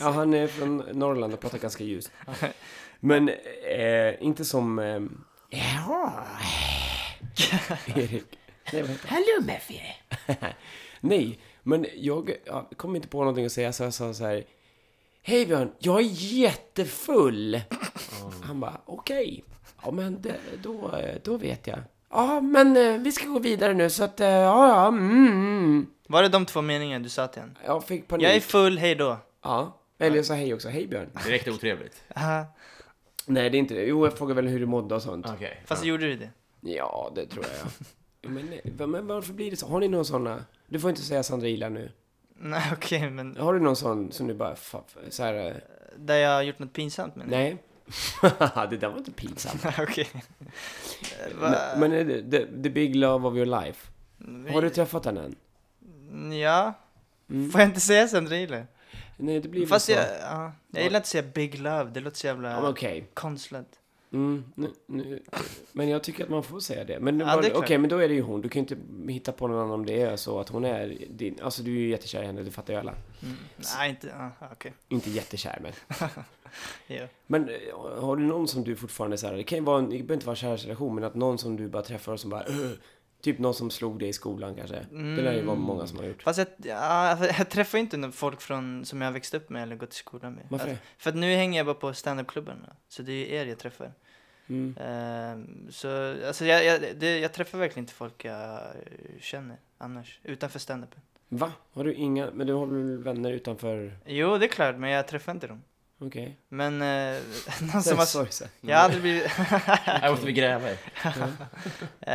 [SPEAKER 1] Ja, han är från Norrland och pratar ganska ljust. Men eh, inte som... Eh, ja. Erik. Nej, vad heter han? Hallå Muffie! Nej, men jag ja, kom inte på någonting att säga så jag sa så här. Hej Björn, jag är jättefull! Han bara, okej. Ja, men det, då, eh, då vet jag. Ja, men eh, vi ska gå vidare nu så att, eh, ja, ja, mm, mm.
[SPEAKER 4] Var det de två meningarna du sa till honom?
[SPEAKER 1] Jag fick panik.
[SPEAKER 4] Jag är full, hej då.
[SPEAKER 1] Ja. Eller jag sa hej också. Hej Björn.
[SPEAKER 3] Direkt otrevligt.
[SPEAKER 4] Aha.
[SPEAKER 1] Nej, det är inte det. Jo,
[SPEAKER 4] Mm.
[SPEAKER 1] jag frågar väl hur du mådde och sånt.
[SPEAKER 3] Okej.
[SPEAKER 4] Fast gjorde du det?
[SPEAKER 1] Ja, det tror jag. Ja, men, nej, va- men varför blir det så? Har ni någon såna? Du får inte säga Sandra Ila nu.
[SPEAKER 4] Nej, okej, men
[SPEAKER 1] Har du någon sån som du bara, fa- fa- så här, eh,
[SPEAKER 4] där jag har gjort något pinsamt menar
[SPEAKER 1] nej? det där var inte pinsamt.
[SPEAKER 4] jag. Okej.
[SPEAKER 1] Men, men är det, the, the big love of your life. Har du träffat henne än?
[SPEAKER 4] Ja. Får jag inte säga Sandra Ile?
[SPEAKER 1] Nej, det blir väl
[SPEAKER 4] Fast
[SPEAKER 1] så.
[SPEAKER 4] jag, ja, jag gillar inte att säga Big Love, det låter så jävla
[SPEAKER 1] Ja, men okej.
[SPEAKER 4] konstlat.
[SPEAKER 1] Mm, nu, nu. Men jag tycker att man får säga det. Men nu
[SPEAKER 4] Ja,
[SPEAKER 1] var
[SPEAKER 4] det
[SPEAKER 1] det
[SPEAKER 4] är
[SPEAKER 1] okej,
[SPEAKER 4] klart.
[SPEAKER 1] men då är det ju hon. Du kan ju inte hitta på någon annan om det är så att hon är din. Alltså, du är ju jättekär i henne, det fattar ju alla.
[SPEAKER 4] Nej, inte, ja, okej.
[SPEAKER 1] Inte jättekär, men.
[SPEAKER 4] Ja.
[SPEAKER 1] Men eh, har du någon som du fortfarande så här, det kan ju vara, en, det behöver inte vara en kärleksrelation, men att någon som du bara träffar och som bara "Ugh", Typ någon som slog dig i skolan kanske. Det lär ju
[SPEAKER 4] Mm.
[SPEAKER 1] vara många som har gjort.
[SPEAKER 4] Fast jag, ja, för jag träffar ju inte någon folk från, som jag har växt upp med eller gått i skolan med.
[SPEAKER 1] Varför
[SPEAKER 4] Alltså, för att nu hänger jag bara på standupklubbarna, så det är ju er jag träffar.
[SPEAKER 1] Mm.
[SPEAKER 4] Ehm, så alltså, jag, jag, det, jag träffar verkligen inte folk jag eh, känner annars, utanför standupen.
[SPEAKER 1] Va? Har du inga, men du har väl vänner utanför?
[SPEAKER 4] Jo, det är klart, men jag träffar inte dem.
[SPEAKER 1] Okej.
[SPEAKER 4] Men eh, någon
[SPEAKER 1] Okay.
[SPEAKER 4] som har...
[SPEAKER 1] Sorgsen.
[SPEAKER 4] Jag har aldrig blivit...
[SPEAKER 3] Här måste vi gräva i.
[SPEAKER 4] Eh,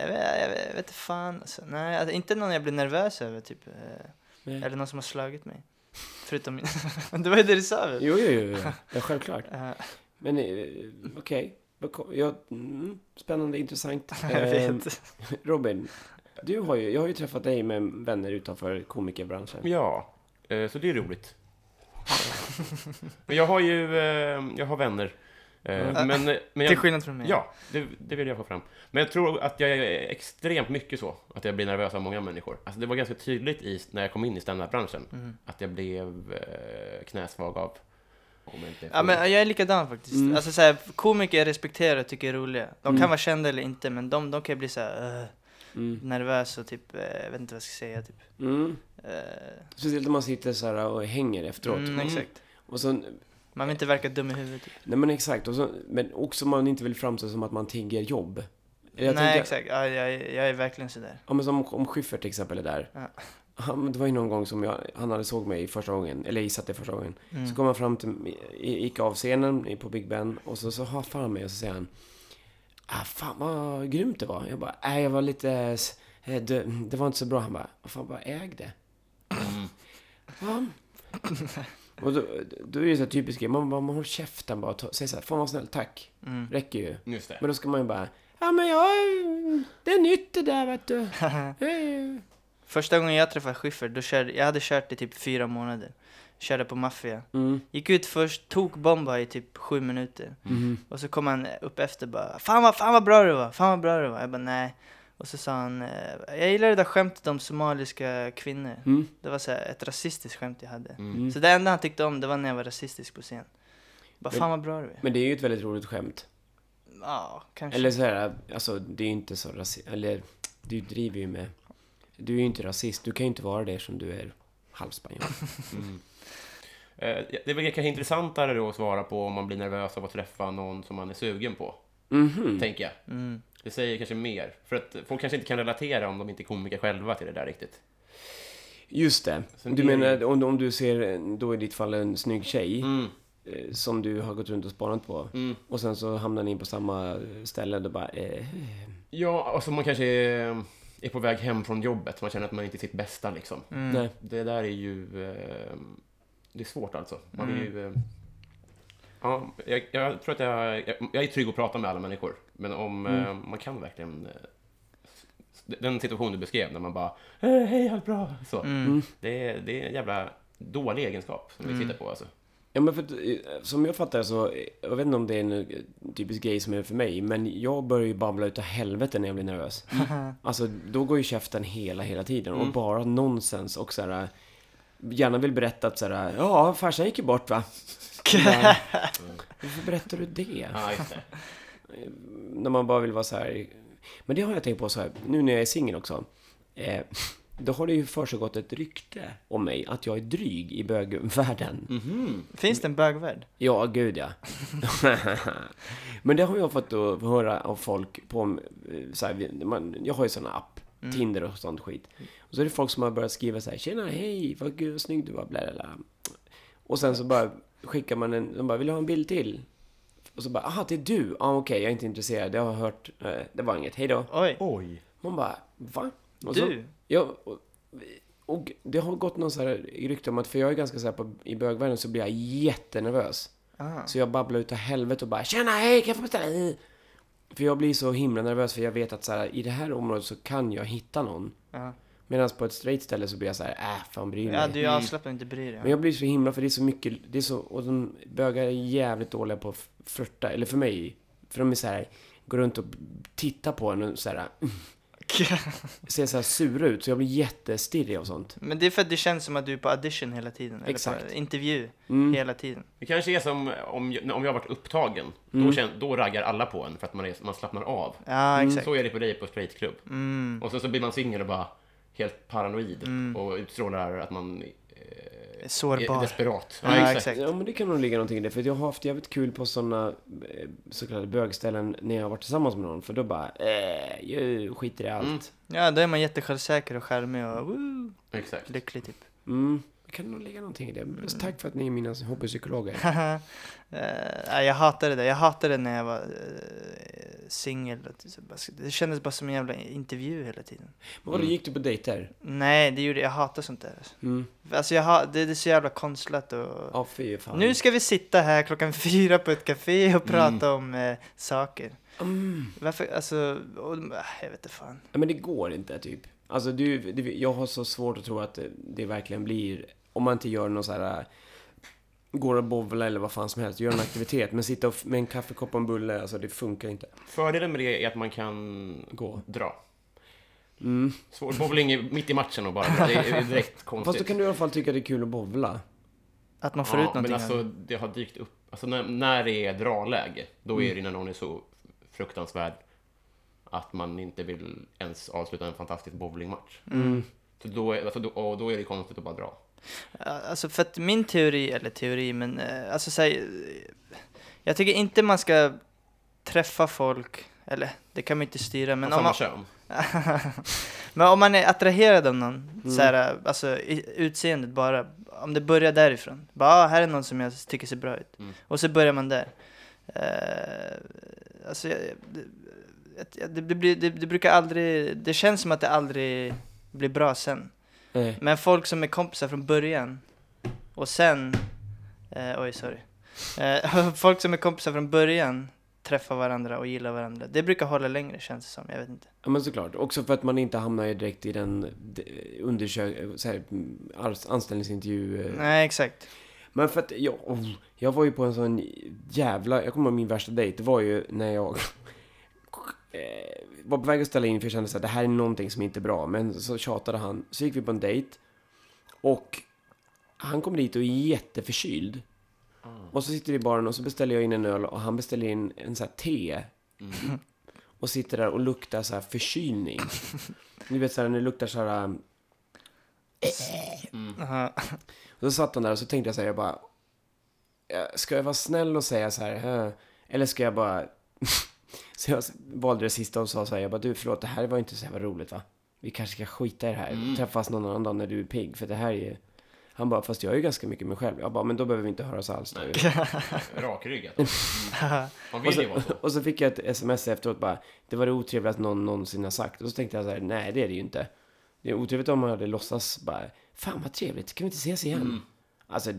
[SPEAKER 4] jag, vet, jag vet inte fan. Alltså, nej, alltså, inte någon jag blir nervös över. Typ. eh.
[SPEAKER 1] Nej.
[SPEAKER 4] Eller någon som har slagit mig. Förutom min... det var ju det du sa väl?
[SPEAKER 1] Jo, jo, jo, jo. Ja, självklart.
[SPEAKER 4] Eh,
[SPEAKER 1] Men eh, okej. Vad ko- Ja, mm, spännande, intressant.
[SPEAKER 4] jag
[SPEAKER 1] Eh,
[SPEAKER 3] Ehm,
[SPEAKER 4] vet.
[SPEAKER 1] Robin, du har ju, jag har ju träffat dig med vänner utanför komikerbranschen.
[SPEAKER 4] Mm.
[SPEAKER 3] Ja, eh, så det är roligt. men jag har ju eh, jag har vänner. Eh,
[SPEAKER 4] Mm.
[SPEAKER 3] Men, men
[SPEAKER 4] Till
[SPEAKER 3] jag,
[SPEAKER 4] skillnad från mig.
[SPEAKER 3] ja, det, det vill jag få fram. Men jag tror att jag är extremt mycket så, att jag blir nervös av många människor. Alltså det var ganska tydligt i, när jag kom in i standardbranschen
[SPEAKER 4] Mm.
[SPEAKER 3] att jag blev eh, knäsvag av... Om jag inte
[SPEAKER 4] Ja men jag är likadan faktiskt.
[SPEAKER 1] Mm.
[SPEAKER 4] Alltså såhär, komiker jag respekterar och tycker är roliga. De
[SPEAKER 1] Mm.
[SPEAKER 4] kan vara kända eller inte men de, de kan ju bli såhär uh,
[SPEAKER 1] Mm.
[SPEAKER 4] nervös och typ, eh, jag vet inte vad jag ska säga typ.
[SPEAKER 1] Mm.
[SPEAKER 4] Eh,
[SPEAKER 1] Speciellt om man sitter så här och hänger efteråt.
[SPEAKER 4] mm, exakt.
[SPEAKER 1] Och så,
[SPEAKER 4] Man vill inte verka dum i huvudet. Typ.
[SPEAKER 1] nej men exakt, och så, men också man inte vill framstå som att man tigger jobb.
[SPEAKER 4] Nej
[SPEAKER 1] Jag tänker-
[SPEAKER 4] exakt, ja, jag, jag är verkligen sådär.
[SPEAKER 1] Ja men som om Schyffert till exempel är där.
[SPEAKER 4] Ja.
[SPEAKER 1] Han, det var ju någon gång som jag, han hade såg mig första gången, eller gissat det första gången.
[SPEAKER 4] Mm.
[SPEAKER 1] Så kom han fram till mig, gick av scenen i- på Big Ben och så, så har fan mig och så säger han ah, Fan vad grymt det var. Jag bara, nej jag var lite, eh, det, det var inte så bra. Han bara, vad fan bara äg det. Ja. Och då, då är det så här typiskt grej, man bara, man håller käften bara och ta- säger så här, fan vad snäll, tack.
[SPEAKER 4] Mm.
[SPEAKER 1] Räcker ju.
[SPEAKER 3] Just det.
[SPEAKER 1] Men då ska man ju bara, ja men jag, det är nytt det där vet du. Eh,
[SPEAKER 4] Första gången jag träffade Schyffert, då körde, jag hade kört i typ fyra månader. Körde på maffia.
[SPEAKER 1] Mm.
[SPEAKER 4] Gick ut först, tog bomba i typ sju minuter.
[SPEAKER 1] Mm.
[SPEAKER 4] Och så kom han upp efter bara Fan vad, fan vad bra det var, fan vad bra det var. Jag bara nej. Och så sa han, eh, jag gillar det där skämtet om somaliska kvinnor.
[SPEAKER 1] Mm.
[SPEAKER 4] Det var så här, ett rasistiskt skämt jag hade.
[SPEAKER 1] Mm.
[SPEAKER 4] Så det enda han tyckte om det var när jag var rasistisk på scen. Bara
[SPEAKER 1] Men-
[SPEAKER 4] fan vad bra du är.
[SPEAKER 1] Men det är ju ett väldigt roligt skämt.
[SPEAKER 4] Ja, kanske.
[SPEAKER 1] Eller så här, alltså det är ju inte så rasist, eller du driver ju med, du är ju inte rasist, du kan ju inte vara det som du är halvspanjor.
[SPEAKER 3] Mm. Eh, Det är väl kanske intressantare då att svara på om man blir nervös av att träffa någon som man är sugen på,
[SPEAKER 1] Mhm.
[SPEAKER 3] tänker jag.
[SPEAKER 4] Mm.
[SPEAKER 3] Det säger kanske mer. För att folk kanske inte kan relatera om de inte är komiker själva till det där riktigt.
[SPEAKER 1] Just det.
[SPEAKER 3] Sen
[SPEAKER 1] Du
[SPEAKER 3] är det-
[SPEAKER 1] menar om, om du ser, en- då i ditt fall en snygg tjej,
[SPEAKER 3] Mm,
[SPEAKER 1] eh, som du har gått runt och spanat på.
[SPEAKER 3] mm.
[SPEAKER 1] Och sen så hamnar ni på samma ställe och då bara, eh,
[SPEAKER 3] Ja, alltså man kanske är, är på väg hem från jobbet. Man känner att man inte är sitt bästa liksom.
[SPEAKER 4] Mm.
[SPEAKER 1] nej.
[SPEAKER 3] Det där är ju... Eh, det är svårt alltså. Man vill ju... Eh, ja, jag, jag tror att jag, jag... Jag är trygg att prata med alla människor. Men om eh, man kan verkligen... Eh, s- den situation du beskrev när man bara eh, Hej, allt bra! Så.
[SPEAKER 4] Mm.
[SPEAKER 3] Det, är, det är en jävla dålig egenskap som vi sitter på alltså.
[SPEAKER 1] Ja men för att, eh, som jag fattar så, eh, jag vet inte om det är en eh, typisk grej som är för mig, men jag börjar ju babbla utav helvete när jag blir nervös. Alltså då går ju käften hela, hela tiden och bara nonsens och såhär, gärna vill berätta att såhär, ja farsan gick ju bort va? Men, Varför berättar du det?
[SPEAKER 3] Ja, just det.
[SPEAKER 1] När man bara vill vara så här. men det har jag tänkt på så här. nu när jag är singel också, eh, då har det ju försiggått ett rykte om mig att jag är dryg i bögvärlden.
[SPEAKER 4] Finns det en bögvärld?
[SPEAKER 1] Ja, gud ja. Men det har jag fått att höra av folk på, eh, så här, vi- man, jag har ju sån app, Tinder och sånt skit. Och så är det folk som har börjat skriva så här, tjena, hej, vad gud, vad snygg du var, bla, bla, bla. Och sen så bara skickar man en, de bara, vill du ha en bild till? Och så bara, aha, det är du, ja ah, okej, jag är inte intresserad, jag har hört, eh, det var inget, hej då.
[SPEAKER 4] Oj,
[SPEAKER 3] Oj.
[SPEAKER 1] Man bara, va? Och så-
[SPEAKER 4] du?
[SPEAKER 1] Ja, och, och det har gått någon så här rykte om att, för jag är ganska så här på, i bögvärlden så blir jag jättenervös.
[SPEAKER 4] Ah.
[SPEAKER 1] Så jag babblar utav helvete och bara “Tjena, hej, kan jag få beställa?” i?" För jag blir så himla nervös för jag vet att så här, i det här området så kan jag hitta någon.
[SPEAKER 4] Ja.
[SPEAKER 1] Medan på ett straight ställe så blir jag så här “Äh, fan bryr mig?”
[SPEAKER 4] ja, du är Mm. alltså- avslappnad och inte bryr dig.
[SPEAKER 1] Men jag blir så himla, för det är så mycket, det är så, och de bögar är jävligt dåliga på att flörta, eller för mig. För de är så här, går runt och tittar på en och så här, ser så här sura ut, så jag blir jättestirrig och sånt.
[SPEAKER 4] Men det är för att det känns som att du är på audition hela tiden. Eller
[SPEAKER 1] Exakt. Mm.
[SPEAKER 4] på intervju hela tiden.
[SPEAKER 3] Det kanske är som om, jag- om jag har varit upptagen. Då, kän, då raggar alla på en för att man, är, man slappnar av.
[SPEAKER 1] Mm.
[SPEAKER 4] Ja, exakt.
[SPEAKER 3] Så är det på dig på spritklubb.
[SPEAKER 4] Mm.
[SPEAKER 3] Och sen så blir man singel och bara helt paranoid och utstrålar att man eh, är
[SPEAKER 4] Sårbar.
[SPEAKER 3] desperat.
[SPEAKER 4] Ja, exakt.
[SPEAKER 1] Ja, men det kan nog ligga någonting i det. För jag har haft jävligt kul på sådana så kallade bögställen när jag har varit tillsammans med någon. För då bara, eh, jag skiter i allt.
[SPEAKER 4] Ja, då är man jättesjälvsäker och charmig och woo,
[SPEAKER 3] Exakt.
[SPEAKER 4] lycklig typ.
[SPEAKER 1] Mm. Kan kan nog ligga någonting i det. Men Tack för att ni är mina hobbypsykologer.
[SPEAKER 4] Eh, nej, jag hatade det. Jag hatade det när jag var eh, singel. Att det så bara- Det kändes bara som en jävla intervju hela tiden.
[SPEAKER 1] Men vadå, gick du på dejter?
[SPEAKER 4] Nej, det gjorde jag. hatar sånt där.
[SPEAKER 1] Mm.
[SPEAKER 4] Alltså jag ha, det, det är så jävla konstlat och...
[SPEAKER 1] Ja, fy fan.
[SPEAKER 4] Nu ska vi sitta här klockan fyra på ett café och prata om eh, saker.
[SPEAKER 1] Mm.
[SPEAKER 4] Varför, alltså, och, äh, jag vet inte fan.
[SPEAKER 1] Ja, men det går inte, typ. Alltså, du, det, jag har så svårt att tro att det, det verkligen blir... Om man inte gör någon så här... äh, Går och bovlar eller vad fan som helst, gör en aktivitet. Men sitta och, f- med en kaffekopp och en bulle, alltså det funkar inte.
[SPEAKER 3] Fördelen med det är att man kan
[SPEAKER 1] Gå.
[SPEAKER 3] dra.
[SPEAKER 1] Mm.
[SPEAKER 3] Svår bowling är mitt i matchen och bara dra. Det är direkt konstigt.
[SPEAKER 1] Fast då kan du i alla fall tycka det är kul att bovla.
[SPEAKER 4] Att man får ut någonting.
[SPEAKER 3] men
[SPEAKER 4] av
[SPEAKER 3] alltså
[SPEAKER 4] det.
[SPEAKER 3] det har dykt upp. Alltså när, när det är draläge, då är det när någon är så fruktansvärd att man inte vill ens avsluta en fantastisk bowlingmatch. Så då, är, alltså, då, och då är det konstigt att bara dra.
[SPEAKER 4] Ja, Alltså för att min teori, eller teori, men eh, alltså så här, eh, Jag tycker inte man ska träffa folk, eller det kan man inte styra, men
[SPEAKER 3] Men
[SPEAKER 4] om
[SPEAKER 3] samma
[SPEAKER 4] man,
[SPEAKER 3] kön.
[SPEAKER 4] men om man är attraherad av någon, så här, eh, alltså i, utseendet bara, om det börjar därifrån. Bara, ah, här är någon som jag tycker ser bra ut.
[SPEAKER 3] Mm.
[SPEAKER 4] Och så börjar man där. Eh, alltså, jag, det, jag- det, det, blir- det, det brukar aldrig, det känns som att det aldrig blir bra sen.
[SPEAKER 1] Nej.
[SPEAKER 4] Men folk som är kompisar från början och sen... Eh, oj, sorry. Eh, folk som är kompisar från början träffar varandra och gillar varandra. Det brukar hålla längre känns det som, jag vet inte.
[SPEAKER 1] Ja, men såklart. Också för att man inte hamnar ju direkt i den undersök... Så här, mm, ars- anställningsintervju...
[SPEAKER 3] Mm.
[SPEAKER 1] eh,
[SPEAKER 4] Nej, exakt.
[SPEAKER 1] Men för att jag, oh, jag var ju på en sån jävla, jag kommer ihåg min värsta dejt, det var ju när jag eh, var på väg att ställa in för jag kände att det här är någonting som inte är bra. Men så tjatade han, så gick vi på en dejt och han kom dit och är jätteförkyld. Och så sitter vi i baren och så beställer jag in en öl och han beställer in en sån här te. Och sitter där och luktar så här förkylning. Ni vet så här, när det luktar så här...
[SPEAKER 3] Eh,
[SPEAKER 4] Aha.
[SPEAKER 1] Och så satt han där och så tänkte jag så här, jag bara... eh, Ska jag vara snäll och säga så här, eh, eller ska jag bara... så jag valde det sista och sa så här, jag bara, du förlåt, det här var ju inte så jävla roligt va? Vi kanske ska skita i det här, träffas någon annan dag när du är pigg, för det här är ju... Han bara, fast jag är ju ganska mycket mig själv. Jag bara, men då behöver vi inte höras alls. Då.
[SPEAKER 3] Rakryggat. Mm. Man vill ju vara så.
[SPEAKER 1] Och så fick jag ett sms efteråt bara, det var det otrevligaste någon någonsin har sagt. Och så tänkte jag så här, nej det är det ju inte. Det är otrevligt om man hade låtsas bara, fan vad trevligt, kan vi inte ses igen? Alltså,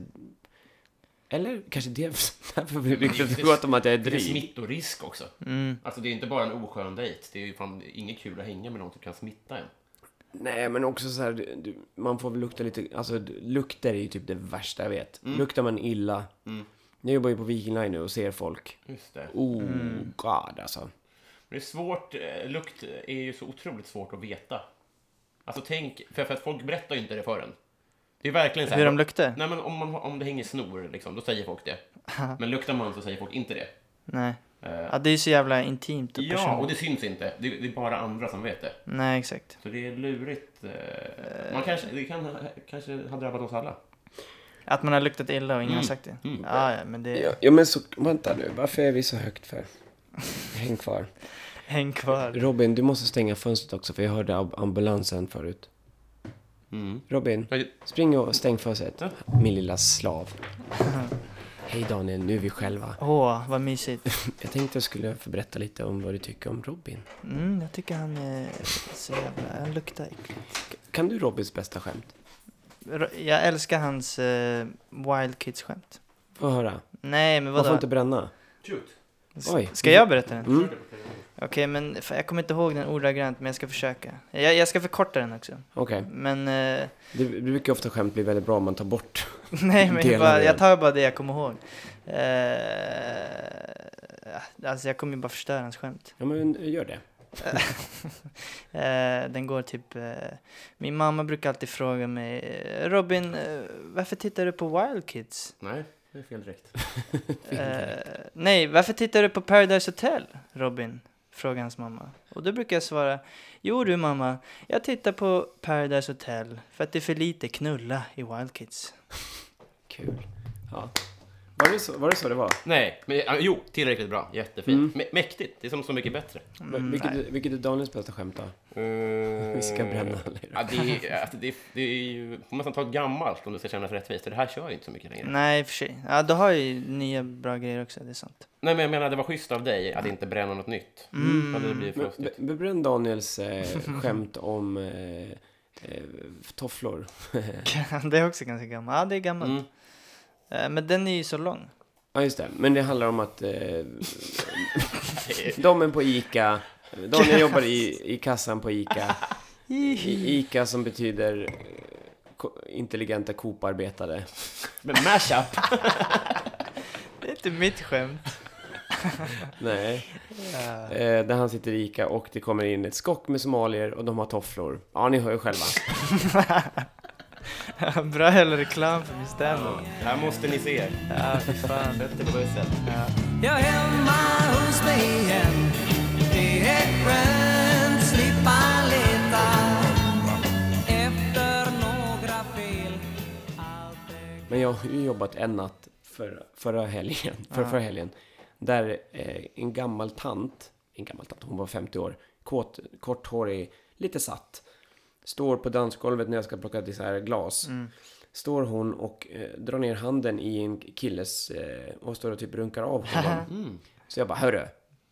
[SPEAKER 1] eller kanske det därför blir det ryktet gott om att jag är
[SPEAKER 3] Det är
[SPEAKER 1] dryg.
[SPEAKER 3] smittorisk också.
[SPEAKER 4] Mm.
[SPEAKER 3] Alltså det är inte bara en oskön dejt. Det är ju fan inget kul att hänga med någon som kan smitta en.
[SPEAKER 1] Nej men också så här, du- du- man får väl lukta lite, alltså d- lukter är ju typ det värsta jag vet. Luktar man illa. Jag jobbar ju på Viking Line nu och ser folk.
[SPEAKER 3] Just det.
[SPEAKER 1] Oh god alltså.
[SPEAKER 3] Men det är svårt, eh, lukt är ju så otroligt svårt att veta. Alltså tänk, för, för att folk berättar ju inte det för en. Det är verkligen så här.
[SPEAKER 4] Hur de luktar?
[SPEAKER 3] Nej men om, man, har- om det hänger snor liksom, då säger folk det. Men luktar man så säger folk inte det.
[SPEAKER 4] Nej.
[SPEAKER 3] Eh,
[SPEAKER 4] Ja, det är ju så jävla intimt och
[SPEAKER 3] ja, och
[SPEAKER 4] personligt.
[SPEAKER 3] det syns inte. Det, det är bara andra som vet det.
[SPEAKER 4] Nej, exakt.
[SPEAKER 3] Så det är lurigt. eh, Man kanske, det kan, ha- kanske har drabbat oss alla.
[SPEAKER 4] Att man har luktat illa och ingen
[SPEAKER 3] Mm.
[SPEAKER 4] har sagt det. Ja, ja, men det...
[SPEAKER 1] Ja, ja men så, vänta nu, varför är vi så högt för? Häng kvar.
[SPEAKER 4] Häng kvar.
[SPEAKER 1] Robin, du måste stänga fönstret också för jag hörde ab- ambulansen förut. Robin,
[SPEAKER 3] Jag-
[SPEAKER 1] spring och stäng fönstret. Min lilla slav. Hej Daniel, nu är vi själva.
[SPEAKER 4] Åh, vad mysigt.
[SPEAKER 1] Jag tänkte jag skulle få berätta lite om vad du tycker om Robin.
[SPEAKER 4] Mm, jag tycker han är så jävla... Han luktar äckligt.
[SPEAKER 1] Kan du Robins bästa skämt?
[SPEAKER 4] Ro- Jag älskar hans eh, Wild Kids-skämt.
[SPEAKER 1] Få höra.
[SPEAKER 4] Nej, men
[SPEAKER 1] Man får
[SPEAKER 4] vadå?
[SPEAKER 1] inte bränna.
[SPEAKER 3] Shoot.
[SPEAKER 1] Oj.
[SPEAKER 4] Ska jag berätta den?
[SPEAKER 1] Mm.
[SPEAKER 4] Okej, men fan, jag kommer inte ihåg den ordagrant, men jag ska försöka. Jag, jag ska förkorta den också.
[SPEAKER 1] Okej.
[SPEAKER 4] Men, eh,
[SPEAKER 1] Det det brukar ofta skämt bli väldigt bra om man tar bort.
[SPEAKER 4] nej, men
[SPEAKER 1] Dela
[SPEAKER 4] jag, bara,
[SPEAKER 1] den.
[SPEAKER 4] jag tar bara det jag kommer ihåg. Eh, alltså, jag kommer ju bara förstöra hans skämt.
[SPEAKER 1] Ja men gör det.
[SPEAKER 4] Eh, den går typ... Eh, min mamma brukar alltid fråga mig, eh, Robin, eh, varför tittar du på Wild Kids?
[SPEAKER 3] Nej, det är fel direkt.
[SPEAKER 4] Eh, nej, varför tittar du på Paradise Hotel, Robin? Frågar hans mamma. Och då brukar jag svara, jo du mamma, jag tittar på Paradise Hotel för att det är för lite knulla i Wild Kids.
[SPEAKER 1] Kul. Ja. Var det så var det, så det var?
[SPEAKER 3] Nej, men ja, jo, tillräckligt bra. Jättefint. Mä- Mäktigt. Det är som Så mycket bättre.
[SPEAKER 1] Mm, vilket, vilket är Daniels bästa skämt då?
[SPEAKER 3] Eh,
[SPEAKER 1] Vi ska bränna alla i
[SPEAKER 3] ja, det, är, alltså, det, är, det är ju... får nästan ta gammalt om det ska kännas rättvist. För det här kör ju inte så mycket längre.
[SPEAKER 4] Nej, i och för sig. Ja, du har ju nya bra grejer också, det är sant.
[SPEAKER 3] Nej, men jag menar, det var schysst av dig att inte bränna något nytt. Mm. Hade det blivit för
[SPEAKER 1] Men,
[SPEAKER 3] ostigt.
[SPEAKER 1] men bränn Daniels eh, skämt om eh, eh, tofflor.
[SPEAKER 4] det är också ganska gammalt. Ja, det är gammalt.
[SPEAKER 3] Mm.
[SPEAKER 4] Eh, Men den är ju så lång.
[SPEAKER 1] Ja, just det. Men det handlar om att eh, de är på ICA. Daniel jobbar i, i kassan på ICA. I, ICA som betyder eh, ko- intelligenta Coop-arbetare.
[SPEAKER 3] Men mashup!
[SPEAKER 4] Det är inte mitt skämt.
[SPEAKER 1] Nej.
[SPEAKER 4] Ja.
[SPEAKER 1] Eh, där han sitter i ICA och det kommer in ett skock med somalier och de har tofflor. Ja, ni hör ju själva.
[SPEAKER 4] Bra eller reklam för min standup.
[SPEAKER 3] Det här måste ni se.
[SPEAKER 4] Ja, fy fan.
[SPEAKER 3] Sätt det på bussen.
[SPEAKER 2] Jag är hemma hos mig igen Det är skönt, slippa leta Efter några fel Allt är
[SPEAKER 1] Men jag har ju jobbat en natt för, förra helgen, för, förra helgen. Där eh, en gammal tant, en gammal tant, hon var 50 år, kort, korthårig, lite satt. Står på dansgolvet när jag ska plocka isär glas. Står hon och eh, drar ner handen i en killes eh, och står och typ runkar av honom. Så jag bara, hörru,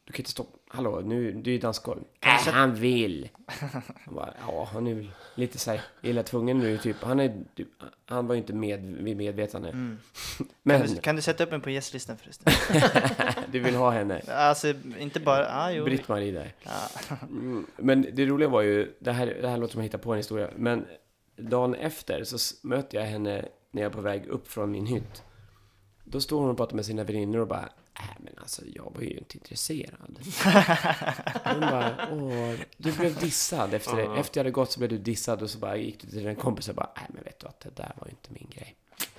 [SPEAKER 1] du kan inte stoppa, hallå, nu, du är ju dansgolv. Äh, han vill! Han bara, ja, han är väl lite så här illa tvungen nu, typ. Han, är, typ- han var ju inte med, vid medvetande. Men
[SPEAKER 4] Mm. Kan du- Kan du sätta upp mig på gästlistan förresten?
[SPEAKER 1] du vill ha henne.
[SPEAKER 4] Alltså, inte bara... Ja, jo.
[SPEAKER 1] Britt-Marie där. Mm, Men det roliga var ju, det här, det här låter som att hitta på en historia, men dagen efter så s- möter jag henne när jag är på väg upp från min hytt. Då står hon och pratar med sina väninnor och bara Nej men alltså jag var ju inte intresserad. Hon bara Åh, du blev dissad efter det. Efter jag hade gått så blev du dissad och så bara gick du till din kompis och bara Nej men vet du att det där var ju inte min grej.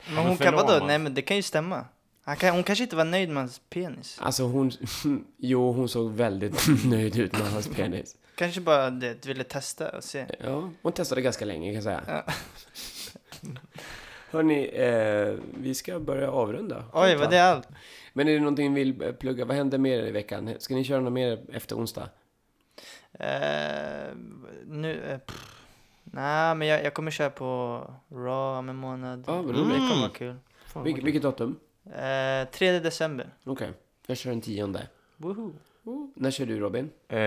[SPEAKER 4] Men
[SPEAKER 3] men
[SPEAKER 4] hon kan... Vadå?
[SPEAKER 3] förlamad.
[SPEAKER 4] Nej, men det kan ju stämma. Han kan, hon kanske inte var nöjd med hans penis.
[SPEAKER 1] Alltså hon, jo hon såg väldigt nöjd ut med hans penis.
[SPEAKER 4] Kanske bara det, ville testa och se.
[SPEAKER 1] Ja, hon testade ganska länge kan jag säga. Hörni, eh, vi ska börja avrunda.
[SPEAKER 4] Oj, var det allt?
[SPEAKER 1] Men är det någonting ni vill eh, plugga? Vad händer mer i veckan? Ska ni köra något mer efter onsdag?
[SPEAKER 4] Eh, nu... eh, pff. Nej, men jag, jag kommer köra på Raw om en månad. Mm.
[SPEAKER 1] Ja, vad
[SPEAKER 4] det
[SPEAKER 1] roligt.
[SPEAKER 4] kommer vara kul.
[SPEAKER 3] Fan,
[SPEAKER 1] Vil- vilket datum?
[SPEAKER 4] Eh, 3 december.
[SPEAKER 1] Okej, jag kör den tionde.
[SPEAKER 4] Woho!
[SPEAKER 1] När kör du Robin?
[SPEAKER 3] Eh,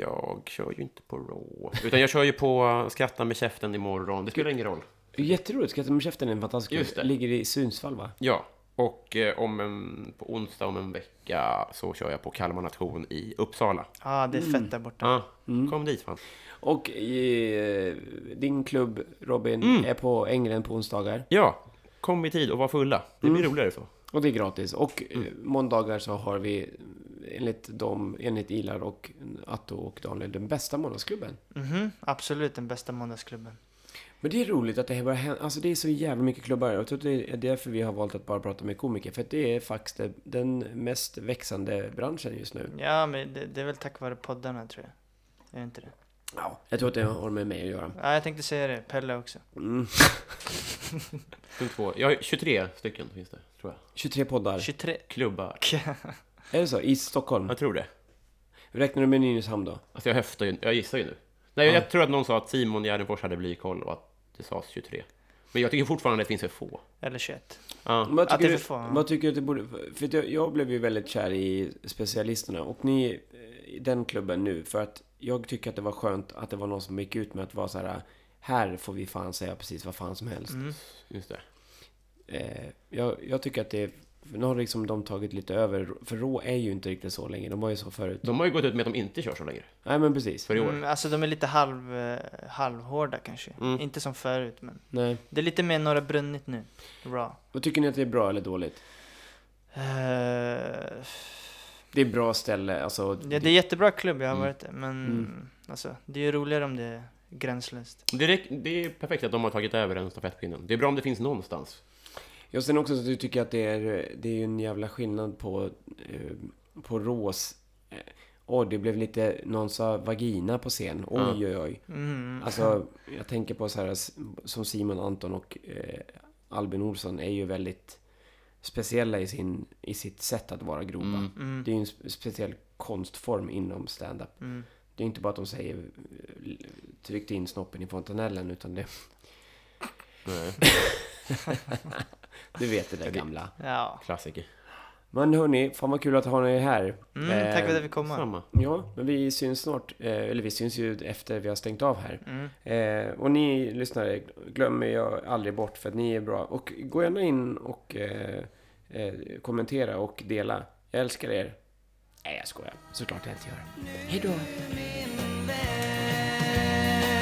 [SPEAKER 3] jag kör ju inte på Raw. Utan jag kör ju på Skratta med käften imorgon. Det spelar ingen roll.
[SPEAKER 1] Jätteroligt, Skratta med käften är en fantastisk
[SPEAKER 3] Just det.
[SPEAKER 1] Ligger i Sundsvall va?
[SPEAKER 3] Ja. Och eh, om en, på onsdag om en vecka så kör jag på Kalmar Nation i Uppsala.
[SPEAKER 4] Ja, ah, det är fett där borta.
[SPEAKER 3] Ja, Kom dit fan.
[SPEAKER 1] Och eh, din klubb Robin
[SPEAKER 4] Mm.
[SPEAKER 1] är på Ängeln på onsdagar.
[SPEAKER 3] Ja, kom i tid och var fulla. Det blir roligare så.
[SPEAKER 1] Och det är gratis. Och eh, måndagar så har vi eh, enligt dem, enligt Ilar och Atto och Daniel, den bästa måndagsklubben.
[SPEAKER 4] Mhm, absolut den bästa måndagsklubben.
[SPEAKER 1] Men det är roligt att det här börjar hända. Alltså det är så jävla mycket klubbar. Jag tror att det är därför vi har valt att bara prata med komiker. För att det är faktiskt det- den mest växande branschen just nu.
[SPEAKER 4] Ja, men det, det är väl tack vare poddarna tror jag. Är det inte det?
[SPEAKER 1] Ja. Jag tror att det har med mig att göra.
[SPEAKER 4] Ja, jag tänkte säga det. Pelle också.
[SPEAKER 1] Mm.
[SPEAKER 3] Punkt två. Jag har 23 stycken finns det, tror jag.
[SPEAKER 1] 23 poddar.
[SPEAKER 4] 23.
[SPEAKER 3] Klubbar.
[SPEAKER 1] Är det så? I Stockholm?
[SPEAKER 3] Jag tror det.
[SPEAKER 1] Räknar du med Nynäshamn då?
[SPEAKER 3] Alltså jag höftar ju, jag gissar ju nu. Nej, jag tror att någon sa att Simon Gärdenfors hade blykoll och att det sades 23. Men jag tycker fortfarande att det finns för få.
[SPEAKER 4] Eller 21.
[SPEAKER 3] Ja.
[SPEAKER 1] Vad
[SPEAKER 4] Att
[SPEAKER 1] tycker,
[SPEAKER 4] det
[SPEAKER 1] du,
[SPEAKER 4] är för fan.
[SPEAKER 1] vad tycker du att det borde... För att jag, jag blev ju väldigt kär i specialisterna och ni eh, i den klubben nu för att jag tycker att det var skönt att det var någon som gick ut med att vara så här här får vi fan säga precis vad fan som helst.
[SPEAKER 4] Mm.
[SPEAKER 3] Just det.
[SPEAKER 1] Eh, jag, jag tycker att det för nu har liksom de tagit lite över, för rå är ju inte riktigt så länge, de var ju så förut.
[SPEAKER 3] De har ju gått ut med att de inte kör så längre.
[SPEAKER 1] Nej men precis.
[SPEAKER 3] För i år.
[SPEAKER 4] Mm, alltså de är lite halv, eh, halvhårda kanske.
[SPEAKER 3] Mm.
[SPEAKER 4] Inte som förut, men.
[SPEAKER 1] Nej.
[SPEAKER 4] Det är lite mer Norra Brunnit nu. Raw.
[SPEAKER 1] Vad tycker ni att det är bra eller dåligt?
[SPEAKER 4] Eh,
[SPEAKER 1] Det är bra ställe, alltså.
[SPEAKER 4] ja, det är jättebra klubb, jag har
[SPEAKER 3] Mm.
[SPEAKER 4] varit där. Men alltså, det är ju roligare om det är gränslöst.
[SPEAKER 3] Det, räck- det är perfekt att de har tagit över den stafettpinnen. Det är bra om det finns någonstans.
[SPEAKER 1] Jag sen också att du tycker att det är, det är ju en jävla skillnad på, eh, på Rås. Eh, Åh, det blev lite, någon sa vagina på scen. Oj,
[SPEAKER 3] Ja.
[SPEAKER 1] oj, oj.
[SPEAKER 4] Mm.
[SPEAKER 1] Alltså, jag tänker på så här s- som Simon Anton och eh, Albin Olsson är ju väldigt speciella i, sin, i sitt sätt att vara grova.
[SPEAKER 3] Mm.
[SPEAKER 4] Mm.
[SPEAKER 1] Det är ju en spe- speciell konstform inom stand-up.
[SPEAKER 4] Mm.
[SPEAKER 1] Det är inte bara att de säger eh, tryckte in snoppen i fontanellen utan det,
[SPEAKER 3] Nej.
[SPEAKER 1] du vet det där
[SPEAKER 3] Ja, det-
[SPEAKER 1] gamla.
[SPEAKER 4] Ja.
[SPEAKER 3] Klassiker.
[SPEAKER 1] Men hörni, fan vad kul att ha er här.
[SPEAKER 4] Mm,
[SPEAKER 1] Eh,
[SPEAKER 4] tack för att jag fick komma.
[SPEAKER 3] Samma.
[SPEAKER 1] Ja, men vi syns snart, eh, eller vi syns ju efter vi har stängt av här.
[SPEAKER 4] Mm.
[SPEAKER 1] Eh, och ni lyssnare, glömmer jag aldrig bort för att ni är bra. Och gå gärna in och eh, eh, kommentera och dela. Jag älskar er. Nej, jag skojar. Såklart jag inte gör. Hejdå!
[SPEAKER 2] min vän